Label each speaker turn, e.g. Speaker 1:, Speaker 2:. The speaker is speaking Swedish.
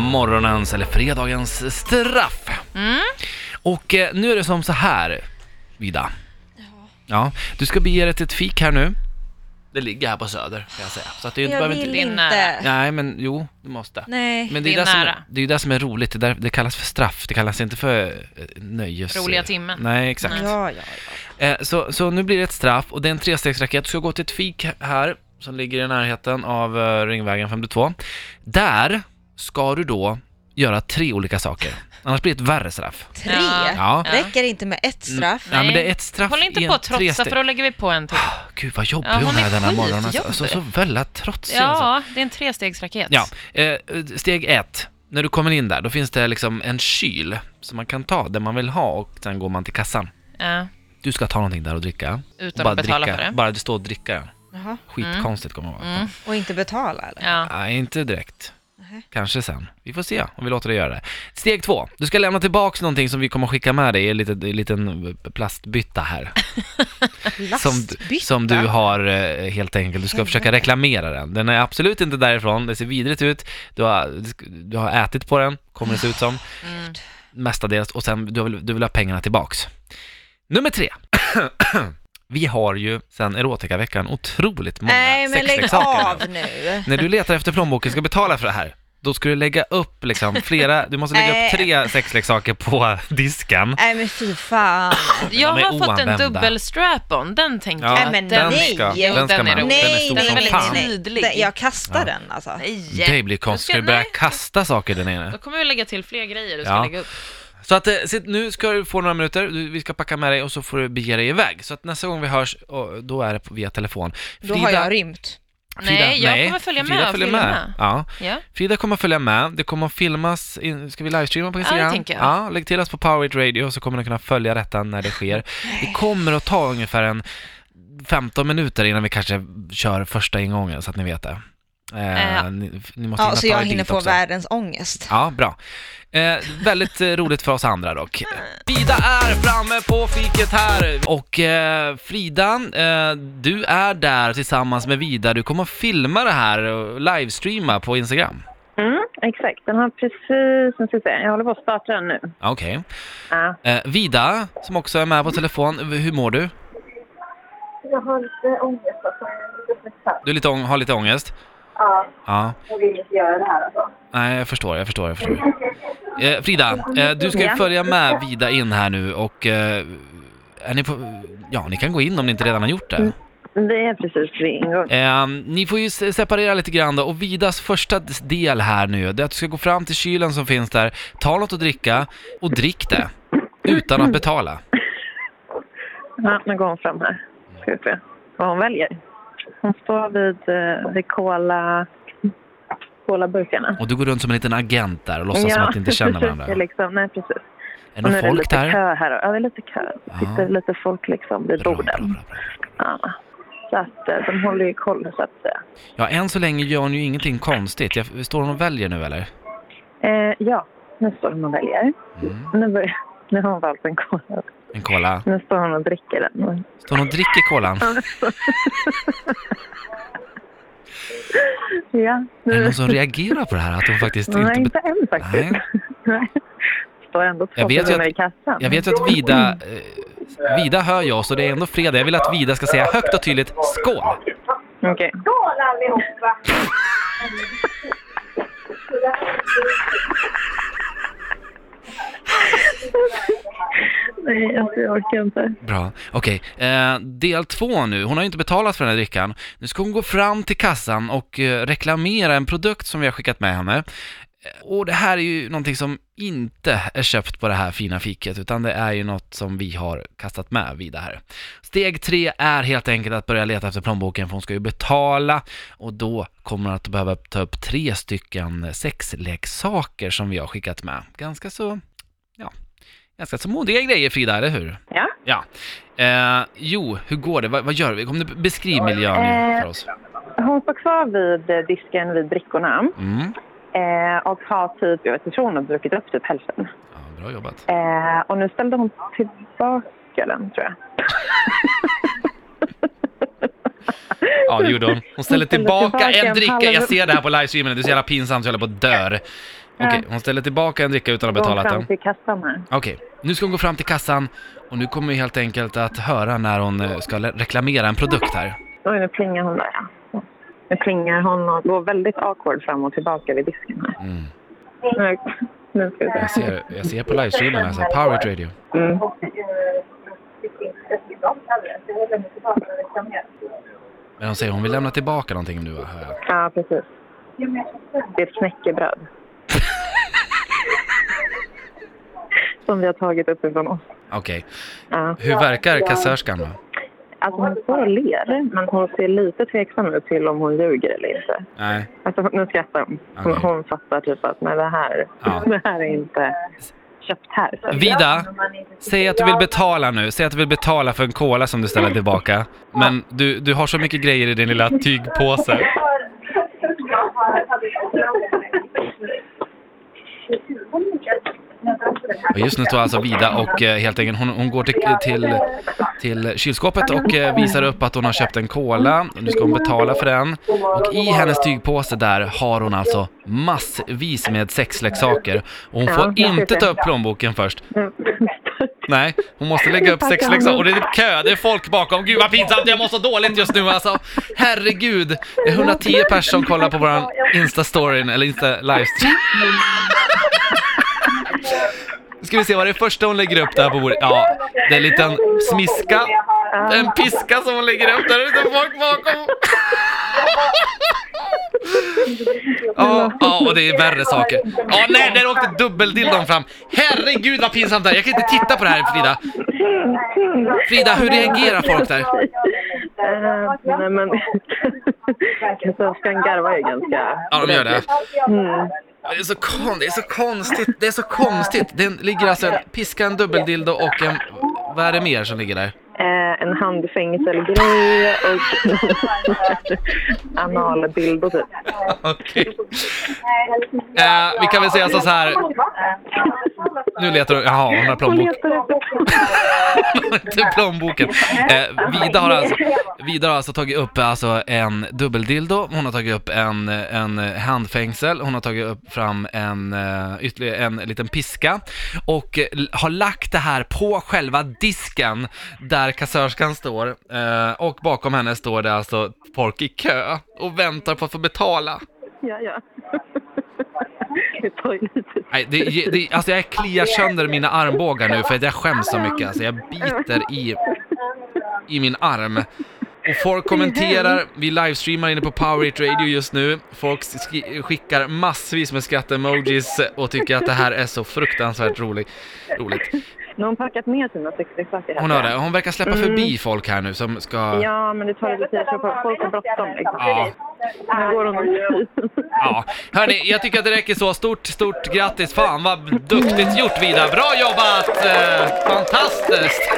Speaker 1: morgonens, eller fredagens, straff. Och eh, nu är det som så här, Vida. Ja, du ska bege dig till ett fik här nu. Det ligger här på Söder, kan jag säga. Så att du
Speaker 2: Jag
Speaker 1: behöver
Speaker 2: vill
Speaker 1: inte...
Speaker 2: inte.
Speaker 3: Linna.
Speaker 1: Nej, men jo, du måste.
Speaker 2: Nej.
Speaker 1: Men det är ju
Speaker 3: Det är
Speaker 1: det, som,
Speaker 3: nära.
Speaker 1: det är ju det som är roligt, det, där, det kallas för straff, det kallas inte för eh, nöjes...
Speaker 3: Roliga timmen.
Speaker 1: Nej, exakt.
Speaker 3: Nej.
Speaker 2: Ja, ja, ja.
Speaker 1: Eh, så, så nu blir det ett straff och det är en trestegsraket. Du ska gå till ett fik här som ligger i närheten av eh, Ringvägen 52. Där ska du då göra tre olika saker. Annars blir det ett värre straff.
Speaker 2: Tre?
Speaker 1: Ja. Mm.
Speaker 3: Ja.
Speaker 2: Räcker det inte med ett straff?
Speaker 1: Nej, men
Speaker 3: Nej.
Speaker 1: det är ett straff
Speaker 3: Håll inte
Speaker 1: i
Speaker 3: på
Speaker 1: en Ah,
Speaker 3: att trotsa
Speaker 1: tresteg-
Speaker 3: för då lägger vi på en till.
Speaker 1: Gud vad jobbig
Speaker 3: Ja,
Speaker 1: hon
Speaker 3: hon
Speaker 1: är
Speaker 3: är
Speaker 1: den här morgonen.
Speaker 3: skitjobbig.
Speaker 1: Alltså, så, så väldigt trotsig. Alltså.
Speaker 3: Ja, det är en trestegsraket.
Speaker 1: Ja. Eh, steg ett. När du kommer in där, då finns det liksom en kyl som man kan ta, det man vill ha och sen går man till kassan.
Speaker 3: Ja,
Speaker 1: Du ska ta någonting där och dricka.
Speaker 3: Utan
Speaker 1: bara
Speaker 3: att betala
Speaker 1: dricka,
Speaker 3: för det.
Speaker 1: Bara det står och dricka.
Speaker 2: Jaha.
Speaker 1: Skitkonstigt kommer det vara.
Speaker 3: Mm.
Speaker 2: Och inte betala eller?
Speaker 3: Ja.
Speaker 1: Nej, inte direkt.
Speaker 2: Nähä.
Speaker 1: Kanske sen. Vi får se om vi låter dig göra det. Steg två. Du ska lämna tillbaks någonting som vi kommer att skicka med dig i en liten, i en liten eh, plastbytta här. Som, du-
Speaker 2: Lastbytta?
Speaker 1: som du har eh, helt enkelt. Du ska försöka reklamera den. Den är absolut inte därifrån. Det ser vidrigt ut. Du har, du har ätit på den, kommer det se ut som.
Speaker 3: Mm.
Speaker 1: Mestadels. Och sen, du vill, du vill ha pengarna tillbaks. Nummer tre. Vi har ju sen erotikaveckan otroligt många
Speaker 2: Nej men lägg
Speaker 1: sexleksaker.
Speaker 2: av nu.
Speaker 1: När du letar efter plånboken ska betala för det här, då ska du lägga upp liksom flera, du måste lägga upp
Speaker 2: Nej.
Speaker 1: tre sexleksaker på disken.
Speaker 2: Nej men fy fan.
Speaker 3: Jag
Speaker 1: De är
Speaker 3: har fått en
Speaker 1: oanvända.
Speaker 3: dubbel strap-on, den tänkte
Speaker 1: Ja,
Speaker 3: jag. eh,
Speaker 2: Nej, men
Speaker 3: den,
Speaker 2: nej.
Speaker 1: ska,
Speaker 2: Jo,
Speaker 1: den ska
Speaker 3: den är
Speaker 1: man, den
Speaker 3: rolig.
Speaker 1: är
Speaker 2: Nej, nej,
Speaker 1: stor
Speaker 3: Den är
Speaker 1: som
Speaker 2: nej,
Speaker 3: väldigt
Speaker 1: fan.
Speaker 2: nej, nej.
Speaker 3: tydlig.
Speaker 2: Den- Jag kastar
Speaker 1: Ja.
Speaker 2: den alltså.
Speaker 3: nej.
Speaker 1: Det blir
Speaker 3: Då
Speaker 1: konstigt,
Speaker 3: ska-
Speaker 1: ska du börja
Speaker 3: nej.
Speaker 1: kasta saker där nere.
Speaker 3: Då kommer vi lägga till fler grejer du ska
Speaker 1: Ja.
Speaker 3: lägga upp.
Speaker 1: Så att, eh, sitt- nu ska du få några minuter, Du- vi ska packa med dig och så får du bege dig iväg. Så att nästa gång vi hörs, och då är det på- via telefon.
Speaker 2: Då har jag rymt.
Speaker 3: Nej, jag kommer följa med
Speaker 1: Frida
Speaker 3: och
Speaker 1: följer
Speaker 3: filma.
Speaker 1: med. Ja.
Speaker 3: Ja.
Speaker 1: Frida kommer följa med, det kommer att filmas, in, ska vi livestreama på
Speaker 3: det
Speaker 1: Instagram?
Speaker 3: tänker jag.
Speaker 1: Ja, lägg till oss på Powerit Radio så kommer ni kunna följa detta när det sker. Det kommer att ta ungefär en 15 minuter innan vi kanske kör första ingången så att ni vet det. Eh, ni,
Speaker 3: Ja.
Speaker 1: ni måste
Speaker 2: Ja,
Speaker 1: hinna
Speaker 2: så
Speaker 1: ta
Speaker 2: jag
Speaker 1: er
Speaker 2: hinner
Speaker 1: dit
Speaker 2: få
Speaker 1: också.
Speaker 2: världens ångest.
Speaker 1: Ja, bra. Eh, väldigt eh, roligt för oss andra dock. Frida är framme på fiket här. Och eh, Frida, eh, du är där tillsammans med Vida. Du kommer att filma det här och livestreama på Instagram.
Speaker 4: Mm, exakt, den har precis... Nu ska vi se, jag håller på att starta den nu.
Speaker 1: Ja, Okej.
Speaker 4: Ja.
Speaker 1: Eh, Vida, som också är med på telefon, v- hur mår du?
Speaker 4: Jag har lite ångest alltså.
Speaker 1: Du är lite ång- har lite ångest?
Speaker 4: Ja,
Speaker 1: Ja.
Speaker 4: jag vill inte göra det här alltså.
Speaker 1: Nej, jag förstår, jag förstår, jag förstår. Eh, Frida, eh, du ska ju
Speaker 4: Ja.
Speaker 1: följa med Vida in här nu och... Eh, är ni på... Ja, ni kan gå in om ni inte redan har gjort
Speaker 4: Mm.
Speaker 1: det.
Speaker 4: Det är precis vid ingången.
Speaker 1: Eh, ni får ju se- separera lite grann då och Vidas första d- del här nu, det är att du ska gå fram till kylen som finns där, ta något att dricka och drick det. Utan att betala.
Speaker 4: Ja, nu går hon fram här. Ska vi se vad hon väljer. Hon står vid, eh, vid cola, colaburkarna.
Speaker 1: Och du går runt som en liten agent där och låtsas som att ni inte känner
Speaker 4: precis,
Speaker 1: varandra.
Speaker 4: det är liksom, nej, precis.
Speaker 1: Är
Speaker 4: Och nu
Speaker 1: det
Speaker 4: är det
Speaker 1: folk
Speaker 4: lite
Speaker 1: där?
Speaker 4: kö här. Ja, det är lite kö. Det sitter
Speaker 1: Ja.
Speaker 4: lite folk liksom vid
Speaker 1: Bra, bra, bra,
Speaker 4: borden.
Speaker 1: bra.
Speaker 4: Ja. Så att eh, de håller ju koll, så att eh, säga.
Speaker 1: Ja, än så länge gör hon ju ingenting konstigt. Jag, står hon och väljer nu eller?
Speaker 4: Eh, ja, nu står hon och väljer.
Speaker 1: Mm.
Speaker 4: Nu, börjar, nu har hon valt en cola.
Speaker 1: En cola.
Speaker 4: Nu står hon och dricker den.
Speaker 1: Står hon och dricker colan?
Speaker 4: Ja,
Speaker 1: Är det
Speaker 4: nu...
Speaker 1: någon som reagerar på det här? Att hon faktiskt
Speaker 4: Nej,
Speaker 1: inte...
Speaker 4: inte än faktiskt.
Speaker 1: Nej.
Speaker 4: Nej. Står ändå två
Speaker 1: Jag vet ju
Speaker 4: personer
Speaker 1: att-
Speaker 4: i kassan.
Speaker 1: Jag vet ju att Vida... Eh, Vida hör ju oss och det är ändå fredag. Jag vill att Vida ska säga högt och tydligt skål.
Speaker 4: Okej.
Speaker 5: Skål allihopa!
Speaker 4: Nej, alltså, jag orkar inte.
Speaker 1: Bra. Okej, eh, del två nu. Hon har ju inte betalat för den här drickan. Nu ska hon gå fram till kassan och eh, reklamera en produkt som vi har skickat med henne. Eh, Och det här är ju någonting som inte är köpt på det här fina fiket, utan det är ju något som vi har kastat med vidare här. Steg tre är helt enkelt att börja leta efter plånboken, för hon ska ju betala och då kommer hon att behöva ta upp tre stycken sexleksaker som vi har skickat med. Ganska så, ja, ganska så modiga grejer Frida, eller hur?
Speaker 4: Ja.
Speaker 1: Ja. Eh, jo, hur går det? Vad, vad gör vi? Kom, du- beskriv miljön nu
Speaker 4: Eh.
Speaker 1: för oss.
Speaker 4: Hon står kvar vid eh, disken vid brickorna
Speaker 1: Mm.
Speaker 4: eh, och har typ, jag vet inte, hon har druckit upp typ hälften.
Speaker 1: Ja, bra jobbat.
Speaker 4: Eh, och nu ställde hon tillbaka den, tror jag.
Speaker 1: Ja, det gjorde hon. Hon ställer
Speaker 4: ställer
Speaker 1: tillbaka
Speaker 4: tillbaka
Speaker 1: en
Speaker 4: en
Speaker 1: dricka. Jag
Speaker 4: halv-
Speaker 1: ser det här på livestreamen. Det är så jävla pinsamt så jag håller på att dör. Okej, hon ställer tillbaka en dricka utan att ha
Speaker 4: Gå
Speaker 1: betalat
Speaker 4: fram
Speaker 1: den.
Speaker 4: till kassan här.
Speaker 1: Okej, nu ska hon gå fram till kassan och nu kommer vi helt enkelt att höra när hon eh, ska le- reklamera en produkt här.
Speaker 4: Oj, nu plingar hon där ja. Nu plingar hon och går väldigt awkward fram och tillbaka vid disken här.
Speaker 1: Mm.
Speaker 4: Nu- Nu ska vi
Speaker 1: Jag
Speaker 4: se.
Speaker 1: ser, jag ser på livestreamen här, så här, Power Trade Radio.
Speaker 4: Mm.
Speaker 1: Men hon säger hon vill lämna tillbaka någonting nu va? hör jag.
Speaker 4: Ja, precis. Det är ett knäckebröd. Som vi har tagit uppifrån oss.
Speaker 1: Okej,
Speaker 4: Ja.
Speaker 1: hur verkar kassörskan då?
Speaker 4: Alltså hon står och ler, men hon ser lite tveksam ut till om hon ljuger eller inte.
Speaker 1: Nej.
Speaker 4: Alltså nu skrattar hon. Hon,
Speaker 1: Okej.
Speaker 4: hon fattar typ att nej, det, här,
Speaker 1: Ja.
Speaker 4: det här är inte köpt här. Så.
Speaker 1: Vida, säg att du vill betala nu. Säg att du vill betala för en cola som du ställer tillbaka. Men du, du har så mycket grejer i din lilla tygpåse. Och just nu står alltså Vida och eh, helt enkelt, hon, hon går till, till, till kylskåpet och eh, visar upp att hon har köpt en cola. Nu ska hon betala för den. Och i hennes tygpåse där har hon alltså massvis med sexleksaker. Och hon
Speaker 4: Ja,
Speaker 1: får
Speaker 4: jag
Speaker 1: inte
Speaker 4: ser
Speaker 1: ta upp plånboken först.
Speaker 4: Mm.
Speaker 1: Nej, hon måste lägga upp sexleksaker. Och det är kö, det är folk bakom. Gud vad pinsamt, jag mår så dåligt just nu alltså. Herregud, det är 110 personer som kollar på våran Insta-storyn, eller Insta-livestream. Nu ska vi se vad det är första hon lägger upp där på bordet. Ja, det är en liten smiska. Det är en piska som hon lägger upp där ute, folk bakom. Ja, ja, och det är värre saker. Ja, nej, där åkte dubbeldildon fram. Herregud vad pinsamt det här. Jag kan inte titta på det här Frida. Frida, hur reagerar folk där?
Speaker 4: Eh, nej men kassörskan garvar ju ganska.
Speaker 1: Ja, de gör det.
Speaker 4: Mm.
Speaker 1: Det är så, kon- det är så konstigt. Det är så konstigt. Det ligger alltså en piska, en dubbeldildo och en... Vad är det mer som ligger där?
Speaker 4: Eh, en handfängselgrej och analbild och typ.
Speaker 1: Okej. Eh, vi kan väl säga så här. Nu letar hon... Jaha, hon har
Speaker 4: Hon
Speaker 1: plånbok.
Speaker 4: letar efter
Speaker 1: Inte plånboken. Eh, Vida, har alltså, Vida har alltså tagit upp alltså, en dubbeldildo, hon har tagit upp en, en handfängsel, hon har tagit upp fram en, eh, ytterligare en liten piska och eh, l- har lagt det här på själva disken där kassörskan står eh, och bakom henne står det alltså folk i kö och väntar på att få betala.
Speaker 4: Ja, ja. Det tar ju lite
Speaker 1: Nej, det, det, alltså jag kliar sönder mina armbågar nu för att jag skäms så mycket. Alltså jag biter i, i min arm. Och folk kommenterar, vi livestreamar inne på Power It Radio just nu. Folk skri- skickar massvis med skratt-emojis och tycker att det här är så fruktansvärt roligt. roligt.
Speaker 4: Nu har hon packat ner sina sexleksaker här.
Speaker 1: Hon har det, hon verkar släppa
Speaker 4: Mm.
Speaker 1: förbi folk här nu som ska...
Speaker 4: Ja, men det tar lite tid. för folk- Folk har bråttom liksom.
Speaker 1: Ja,
Speaker 4: Nu går hon och
Speaker 1: ja. Hörni, jag tycker att det räcker så. Stort, stort grattis! Fan vad duktigt gjort Vida! Bra jobbat! Eh, Fantastiskt!